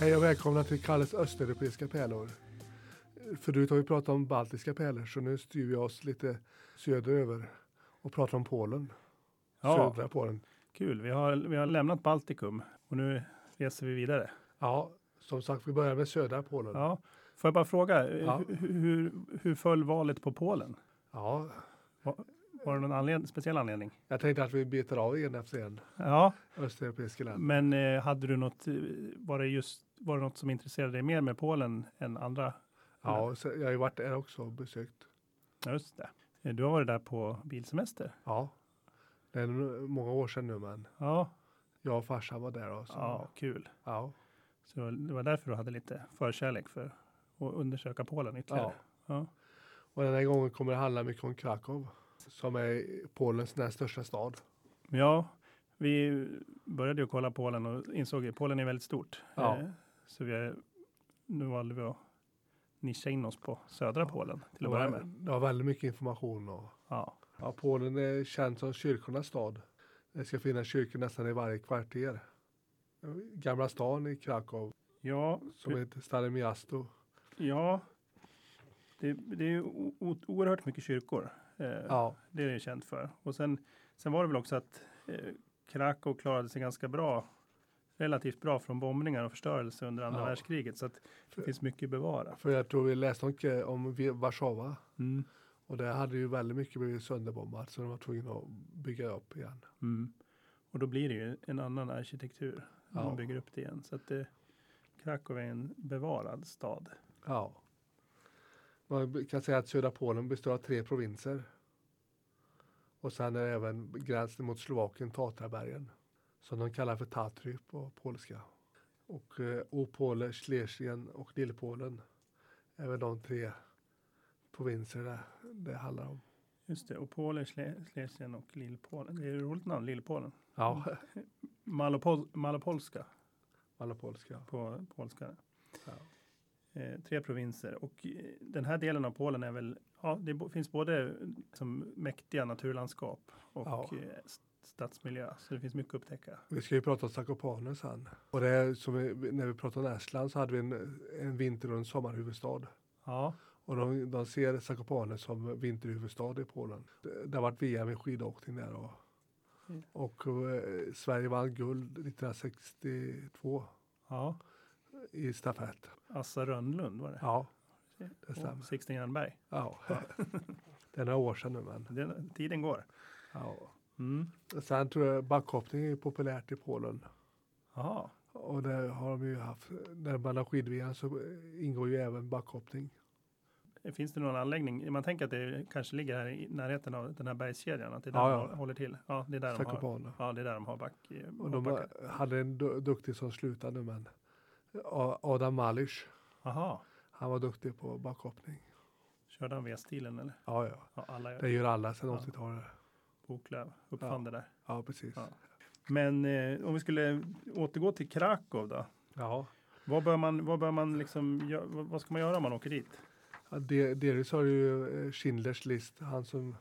Hej och välkomna till Kalles östeuropeiska pärlor. Förut har vi pratat om baltiska pärlor så nu styr vi oss lite söderöver och pratar om Polen. Ja, Södra Polen. kul. Vi har, vi har lämnat Baltikum och nu reser vi vidare. Ja, som sagt, vi börjar med södra Polen. Ja, Ja. Får jag bara fråga, eh, Ja. hu- hur, hur föll valet på Polen? Var det någon anled- speciell anledning? jag tänkte att vi betar av en efter en Ja, östeuropeiska land. men eh, hade du något, eh, var det just, var det något som intresserade dig mer med Polen än andra? Ja, så jag har ju varit där också och besökt. Ja, Just det. Eh, Du har varit där på bilsemester? Ja, det är nog många år sedan nu men Ja, jag och farsan var där. Och så. ja kul. Ja, Så det var- det var därför du hade lite förkärlek för att undersöka Polen ytterligare? ja. Ja. Och den här gången kommer det handla mycket om Krakow som är Polens näst största stad. Ja, vi började ju kolla Polen och insåg att Polen är väldigt stort. Ja. Eh, Så vi, är- nu valde vi att nischa in oss på södra Polen till Det att var, börja med. det var väldigt mycket information. Och, Ja, ja, Polen är känd som kyrkornas stad. Det ska finnas kyrkor nästan i varje kvarter. Gamla stan i Krakow ja, som heter Stare Miasto. ja. Det, det är ju o- o- oerhört mycket kyrkor. Eh, Ja, Det är det ju känt för. Och sen, sen var det väl också att eh, Krakow klarade sig ganska bra, relativt bra från bombningar och förstörelse under andra Ja. världskriget. Så att det finns mycket att bevara. för jag tror vi läste om, Ke- om Vi- Warszawa Mm. och det hade ju väldigt mycket blivit sönderbombat så de var tvungna att bygga upp igen. Mm. Och då blir det ju en annan arkitektur när Ja. man bygger upp det igen. Så att det, Krakow är en bevarad stad. Ja. Man kan säga att södra Polen består av tre provinser. Och sen är det även gränsen mot Slovakien Tatrabergen. Som de kallar för Tatry på polska. Och eh, Opole, Schlesien och Lillpolen är väl de tre provinser det, det handlar om. Just det, och Polen, Schle- Schlesien och Lillpolen. Det är ett roligt namn, Lillpolen. Ja, Malopol, malopolska alla polska. på polska. Ja. Eh, tre provinser och eh, den här delen av Polen är väl, ja, det bo- finns både som mäktiga naturlandskap och Ja. eh, st- stadsmiljö. Så det finns mycket att upptäcka. Vi ska ju prata om Zakopane sen. Och det är som vi, när vi pratade om Estland så hade vi en, en vinter och en sommarhuvudstad. Ja, Och de, de ser Zakopane som vinterhuvudstad i Polen. Det, det har varit VM i skidåkning där. Och, Mm. och eh, Sverige vann guld 1962 ja. i stafett. Assa Rönnlund var det. Ja, Och stämmer. Sixten Jernberg. ja. det är några år sedan nu men. Det, tiden går. Ja. Mm. Sen tror jag backhoppning är populärt i Polen. Jaha, Och det har de ju haft. När man har skid så ingår ju även backhoppning. finns det någon anläggning? Man tänker att det kanske ligger här i närheten av den här bergskedjan, att det är där Ja, de ja. håller till. Ja, det är där de har. Zakopane. Ja, det är där de har back. Och de backar. har- hade en du- duktig som slutade nu men. A- Adam Malish. Jaha, Han var duktig på backhoppning. körde han V-stilen eller? Ja, ja. Ja, alla Det gör alla sedan Ja. 80-talet. Boklöv uppfann det där. Ja, precis. Ja. Men eh, om vi skulle återgå till Krakow då. Ja. Vad bör man, vad bör man liksom, gö- vad vad ska man göra om man åker dit? Ja, de- Delvis har ju eh, Schindlers list, han som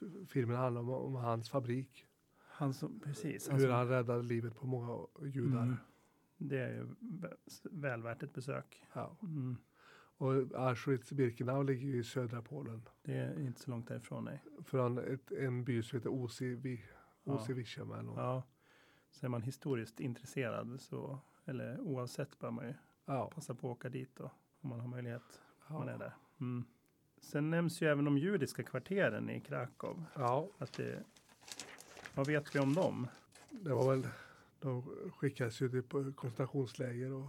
f- filmen handlar om, om hans fabrik. Han som, precis. hur som- han räddade livet på många judar. Mm. Det är ju vä- väl värt ett besök. Ja. Mm. Och Auschwitz-Birkenau ligger ju i södra Polen. Det är inte så långt därifrån, nej. Från ett, en by som heter Osivi. Ja. Osivicham eller något. Ja, så är man historiskt intresserad så, eller oavsett bör man ju Ja. passa på att åka dit då, om man har möjlighet, om man är Ja. där. Mm. Sen nämns ju även de judiska kvarteren i Krakow. ja, Att det, vad vet vi om dem? det var väl, de skickades ju till på koncentrationsläger och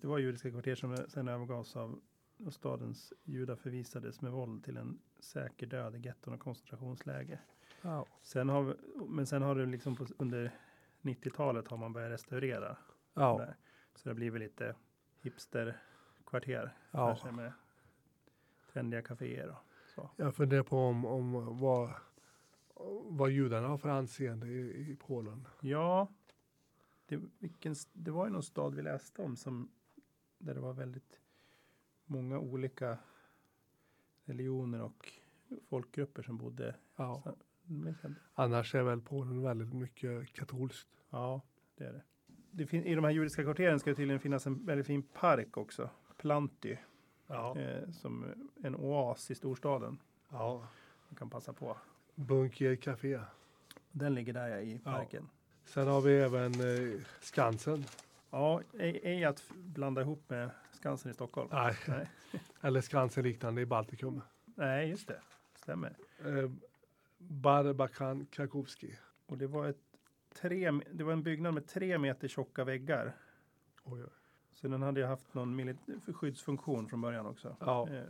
Det var judiska kvarter som sen övergavs av och stadens judar förvisades med våld till en säker död i getton och koncentrationsläger. ja. Sen har, vi- men sen har det liksom på, under 90-talet har man börjat restaurera Ja. där. Så det blir väl lite hipsterkvarter Ja. kanske med trendiga kaféer. Och så. Jag funderar på om, om vad, vad judarna har för anseende i, i Polen. Ja, det, vilken, s- det var ju någon stad vi läste om som där det var väldigt många olika religioner och folkgrupper som bodde. Ja. Så- men sen- Annars är väl Polen väldigt mycket katolskt. Ja, det är det. det fin- I de här judiska kvarteren ska det tydligen finnas en väldigt fin park också. Planty, Ja. eh, som en oas i storstaden. ja. Man kan passa på. Bunker Café. Den ligger där i Ja. parken. Sen har vi även eh, Skansen. Ja, ej, ej att f- blanda ihop med Skansen i Stockholm. Nej. Nej. Eller Skansen liknande i Baltikum. Nej, just det. Stämmer. Eh, Barbakan Krakowski. Och det var, ett tre, det var en byggnad med tre meter tjocka väggar. Oj, oj. Så den hade ju haft någon mili- skyddsfunktion från början också. Ja, Eh,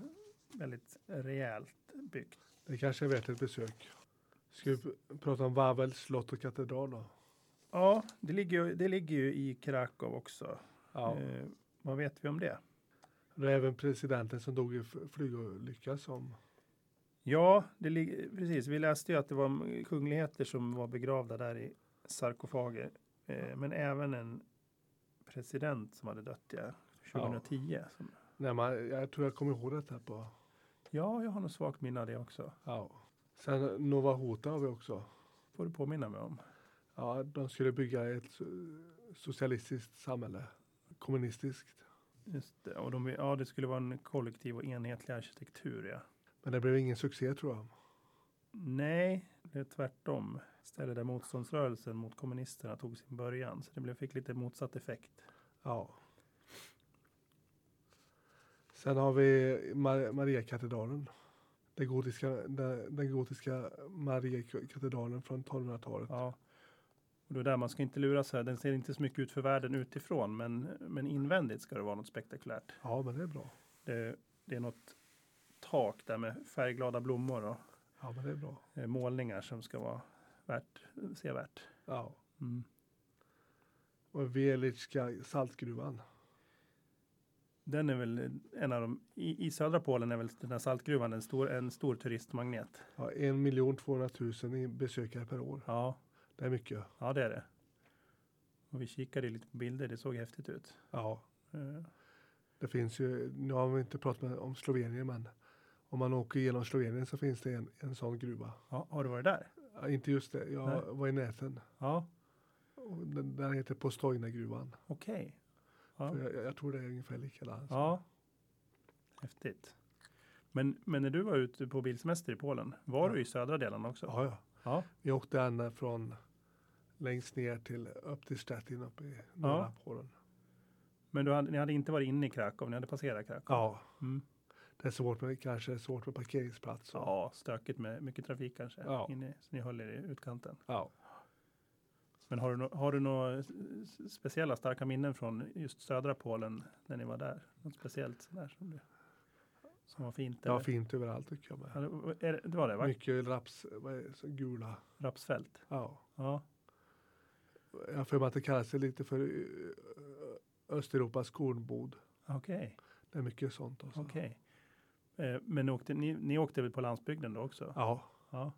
väldigt rejält byggt. det kanske är värt ett besök. Ska vi p- prata om Wawels slott och katedral då? Ja, det ligger, ju- det ligger ju i Krakow också. Ja. Eh, vad vet vi om det? Det är även presidenten som dog i f- flygolycka som... Ja, det ligger, precis. Vi läste ju att det var m- kungligheter som var begravda där i sarkofager. Eh, men även en president som hade dött ja, 2010. Ja, som, Nej, man, jag tror jag kommer ihåg detta på... ja jag har nog svagt minne av det också. Ja. Sen Nova Hota har vi också. Får du påminna mig om. Ja, de skulle bygga ett so- socialistiskt samhälle. Kommunistiskt. Just det. Och de, ja, det skulle vara en kollektiv och enhetlig arkitektur. Ja. Men det blev ingen succé tror jag. Nej, det är tvärtom. Stället där motståndsrörelsen mot kommunisterna tog sin början. Så det blev, fick lite motsatt effekt. Ja. Sen har vi Mar- Mariakatedralen. Den gotiska, den, den gotiska Mariakatedralen från 1200-talet. Ja. Och det är där man ska inte lura sig. Den ser inte så mycket ut för världen utifrån, men, men invändigt ska det vara något spektakulärt. Ja, men det är bra. Det, det är något tak där med färgglada blommor och Ja, men det är bra. eh, målningar som ska vara värt, sevärt. Ja. Mm. Och Velitska saltgruvan. Den är väl en av de, i, i södra Polen är väl den här saltgruvan en stor, en stor turistmagnet. Ja, 1 200 000 i- besökare per år. Ja, Det är mycket. ja det är det. Och vi kikade lite på bilder, det såg häftigt ut. Ja, Eh, det finns ju. Nu har vi inte pratat med, om Slovenien, men om man åker genom Slovenien så finns det en, en sån gruva. Ja, har du varit där? Ja, inte just det. Jag Nej. var i näten. Ja, Och den, den heter Postojna-gruvan. okej. Ja. För Jag, jag- jag tror det är ungefär likadant. Ja. Häftigt. Men, men när du var ute på bilsemester i Polen, var Ja. du i södra delen också? ja, ja. Ja. Vi åkte ända från längst ner till upp till Stettin uppe i norra Ja. Polen. Men du hade, ni hade inte varit inne i Krakow, ni hade passerat Krakow? Ja, Mm. det är svårt med, kanske svårt med parkeringsplats. och- Ja, stökigt med mycket trafik kanske. Ja. Inne, så ni höll er i utkanten. ja. Men har du, nå- har du några s- s- speciella starka minnen från just södra Polen när ni var där? Något speciellt sådär som, du, som var fint? Det var eller? fint överallt tycker jag. Med. Ja, det var- är det- det var det, va? Mycket raps, vad är det, så gula. Rapsfält? Ja. Ja. Jag har för mig att det kallas det lite för eh, Östeuropas kornbod. Okej, Det är mycket sånt. Också. okej. Eh, Men ni åkte, ni, ni åkte väl på landsbygden då också? Ja, Ja.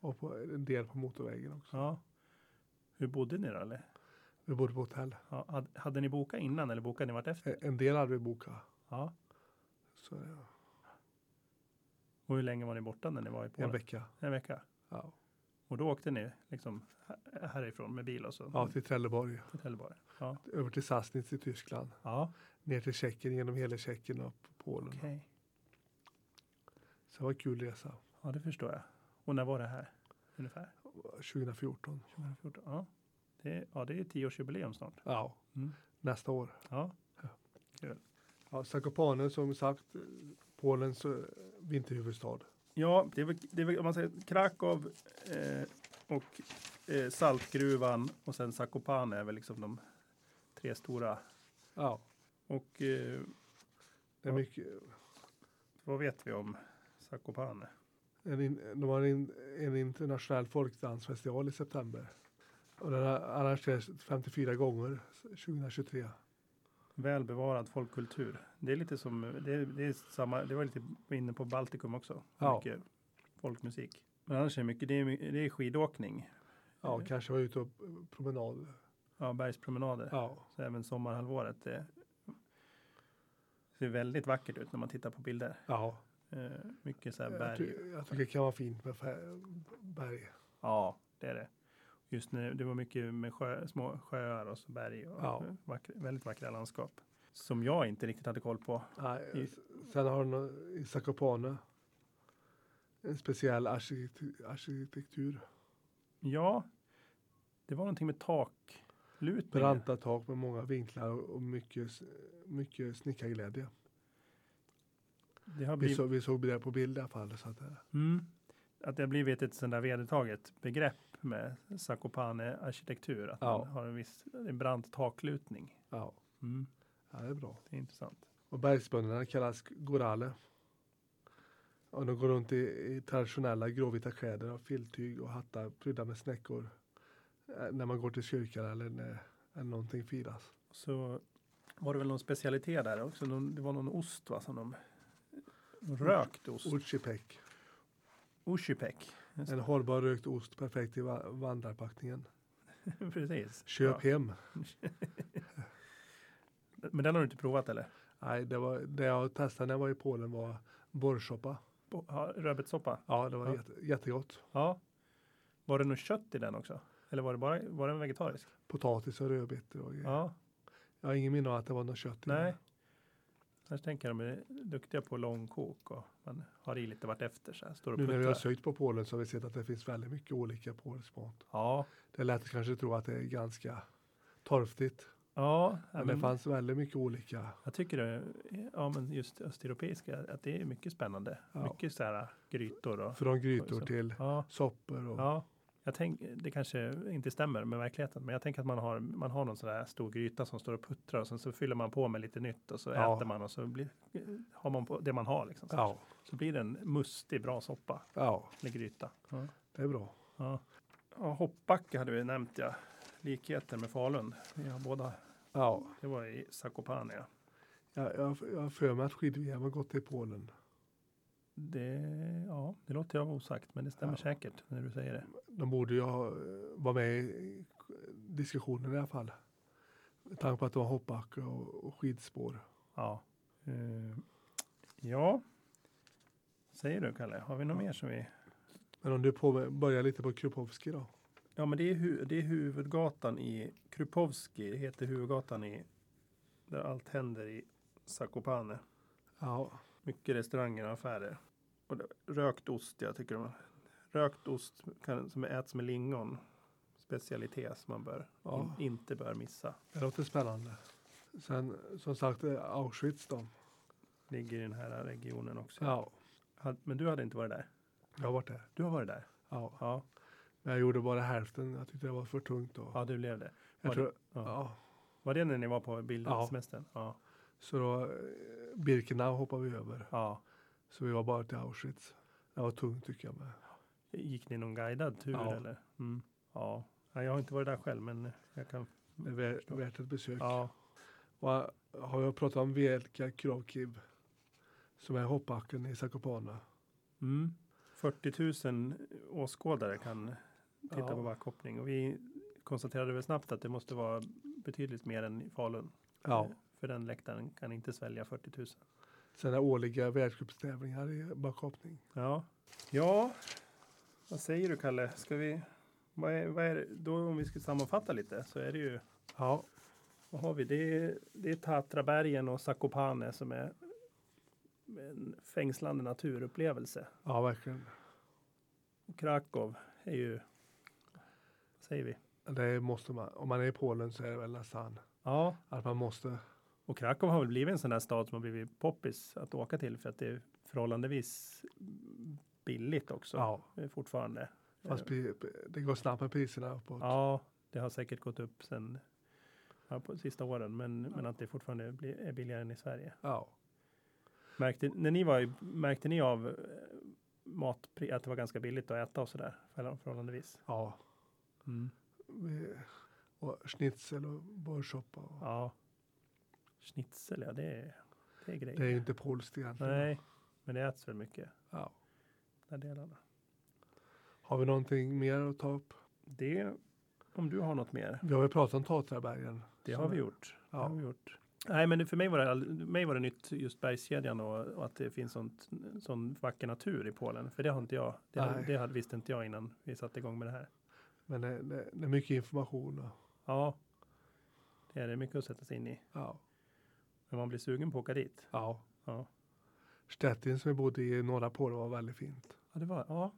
och på, en del på motorvägen också. Ja. Hur bodde ni då? Eller? Vi bodde på hotell. Ja, had- hade ni bokat innan eller bokade ni vart efter? E- En del hade vi bokat. Ja. Så eh, Och hur länge var ni borta när ni var i Polen? en vecka. En vecka. Ja, Och då åkte ni liksom här- härifrån med bil och så? ja typ. till Trelleborg. till Trelleborg. Ja, Över till Sassnitz i Tyskland. ja Ner till Tjeckien, genom hela Tjeckien och upp till Polen. okej. Så det var en kul resa. Ja, det förstår jag. Och när var det här? Ungefär? 2014. 2014? Ja, det är, ja, det är tioårsjubileum snart. Ja, Mm. nästa år. Ja, Ja, Zakopane som sagt, eh, Polens eh, vinterhuvudstad. ja det är väl, det är väl om man säger Krakow eh, och eh, Saltgruvan och sen Zakopane är väl liksom de tre stora. Ja, Och eh, det är Ja. mycket. Vad vet vi om Zakopane? En in, de har en, en internationell folkdansfestival i september. Och den har arrangerats 54 gånger 2023. Välbevarad folkkultur. Det är lite som, det, det är samma, det var lite inne på Baltikum också. Ja. Mycket folkmusik. Men annars är det mycket, det är, my- det är skidåkning. Ja, Mm. kanske var ute och eh, promenad. Ja, bergspromenader. Ja, Så även sommarhalvåret. Det ser väldigt vackert ut när man tittar på bilder. ja. Eh, mycket så här Jag, berg. ty, jag tycker det kan vara fint med fär, berg. Ja, det är det. Just när det var mycket med sjö, små sjöar och så berg och Ja. vackra, väldigt vackra landskap. Som jag inte riktigt hade koll på. Nej, Just- sen har de i Zakopane en speciell arkitektur. arkitektur. Ja, det var någonting med taklutningar. Branta tak med många vinklar och och mycket, s- mycket snickarglädje. Det har Vi, blivit, så, vi såg det på bild i alla fall. Så att, eh, mm, att det har blivit ett sånt där vedertaget begrepp med Zakopane-arkitektur. Att Ja. man har en viss en brant taklutning. ja, Mm, ja, det är bra. det är intressant. Och bergsbönderna kallas gorale. Och de går runt i, i traditionella gråvita kläder och filttyg och hattar prydda med snäckor. eh, När man går till kyrkan eller när, när någonting firas. Så var det väl någon specialitet där också. Någon, det var någon ost va? Som de, rökt ost. Uchipek. Oshipek. Just En hållbar rökt ost, perfekt i va- vandrarpackningen. det, Precis. Köp Ja. hem. Men den har du inte provat eller? Nej, det, var, det jag testade när jag var i Polen var borrsoppa. Bo- ja, Rödbetssoppa? Ja, det var Ja. Jätte, jättegott. Ja. Var det något kött i den också? Eller var det bara var den vegetarisk? Potatis och rödbetor och grejer. Ja, Jag har ingen minne av att det var något kött i nej. den. Annars tänker jag de är duktiga på långkok och man har i lite vartefter så här. Står och Nu när vi har puttrar. sökt på Polen så har vi sett att det finns väldigt mycket olika polsk mat. Ja, Det är lätt att kanske tro att det är ganska torftigt. ja. ja Men det men fanns väldigt mycket olika. jag tycker det, ja men just östeuropeiska, att det är mycket spännande. Ja. Mycket så här grytor och Från grytor Så. till ja. soppor. Och, Ja, jag tänk, det kanske inte stämmer med verkligheten, men jag tänker att man har, man har någon sån där stor gryta som står och puttrar och sen så fyller man på med lite nytt och så Ja. äter man och så blir, har man på det man har. Liksom, så, ja, så blir det en mustig bra soppa ja, eller gryta. Ja. det är bra. Ja. Hoppbacka hade vi nämnt ja. Likheter med Falun. Vi har båda. Ja, Det var i Zakopane. Ja. jag, jag, jag har för mig att skid-VM har gått till Polen. Det, ja, det låter jag vara osagt, men det stämmer Ja. säkert när du säger det. De borde ju ha, eh, vara med i diskussionen i alla fall. Med tanke på att de har hoppbacke och, och skidspår. Ja. Eh, ja. Säger du Kalle, har vi något mer som vi Men om du på, börjar lite på Krupowski då. Ja, men det är, hu- det är huvudgatan i Krupovski. Det heter huvudgatan i där allt händer i Zakopane. Ja, Mycket restauranger och affärer. Och det, rökt ost, jag tycker om. Rökt ost kan, som äts med lingon. Specialitet som man bör, Ja. in, inte bör missa. det låter spännande. Sen som sagt eh, Auschwitz då. Ligger i den här regionen också. Ja, Had- Men du hade inte varit där? jag har varit där. Du har varit där? Ja. Ja, Men jag gjorde bara hälften. Jag tyckte det var för tungt då. ja du blev det. jag var tror, Ja. ja. Var det när ni var på Ja. bildsemestern? Ja. Så då, eh, Birkenau hoppade vi över. ja. Så vi var bara till Auschwitz. Det var tungt tycker jag med. Gick ni någon guidad tur Ja. eller? Mm. Ja. ja, jag har inte varit där själv, men jag kan. Det är värt, värt ett besök. Ja, Och eh, har jag pratat om Velka Krovkiv som är hoppbacken i Zakopane. mm. 40 000 åskådare kan titta Ja. på backhoppning och vi konstaterade väl snabbt att det måste vara betydligt mer än i Falun. Ja. För den läktaren kan inte svälja 40 000. Sen är årliga världscupstävlingar i backhoppning. Ja, ja. Vad säger du Kalle? Ska vi? Vad är, vad är det? Då om vi ska sammanfatta lite så är det ju Ja, Vad har vi? Det är, det är Tatrabergen och Zakopane som är en fängslande naturupplevelse. ja verkligen. Och Krakow är ju, vad säger vi? Det måste man. Om man är i Polen så är det väl nästan Ja, att man måste. och Krakow har väl blivit en sån här stad som har blivit poppis att åka till för att det är förhållandevis billigt också Ja, eh, fortfarande. fast Eh, pri- det går snabbt med priserna uppåt. ja, det har säkert gått upp sen ja, på sista åren, men, men att det fortfarande blir, är billigare än i Sverige. Ja. Märkte, när ni var, i- märkte ni av eh, matpri, att det var ganska billigt att äta och sådär förhåll- förhållandevis? ja. Mm. Vi- eh, Och schnitzel och borrsoppa. Och. Ja. Schnitzel, ja det är, det är grejer. Det är ju inte polskt egentligen. Nej, men det äts väl mycket. Ja. Den delarna. Har vi någonting mer att ta upp? Det, om du har något mer, Vi har ju pratat om Tatrabergen. det Så- har vi gjort. Det Ja. har vi gjort. Nej, men det- för mig var det, all- för mig var det nytt just bergskedjan och, och att det finns sånt, sån vacker natur i Polen. För det har inte jag, det, Nej. hade, det hade, visste inte jag innan vi satte igång med det här. Men det, det, det är mycket information. Och, Ja, det är det mycket att sätta sig in i. ja. Men man blir sugen på att åka dit. Ja. Ja. Stettin som vi bodde i norra Polen var väldigt fint. Ja, det var, ja,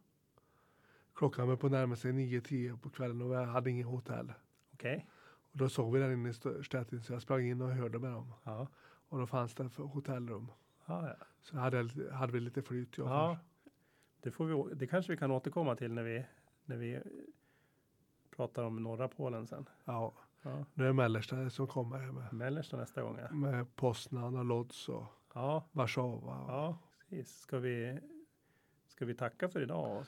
Klockan var på närmare sig 9-10 på kvällen och vi hade inget hotell. okej. Och då såg vi den inne i St- Stettin så jag sprang in och hörde med dem. Ja. Och då fanns det för hotellrum. Ja, ja. Så hade, jag lite- hade vi lite flyt jag ja. först. Det, får vi, å- det kanske vi kan återkomma till när vi, när vi eh, pratar om norra Polen sen. ja. Ja. Nu är det mellersta som kommer här med, Mellersta nästa gång. Ja, med Poznan och Lodz och ja, Warszawa. Och, ja. ja precis. Ska vi, ska vi tacka för idag?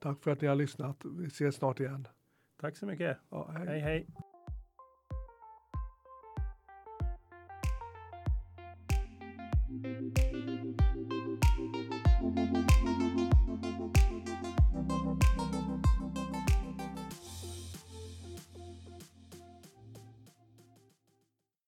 Tack för att ni har lyssnat. Vi ses snart igen. Tack så mycket. Ja, Hej, hej.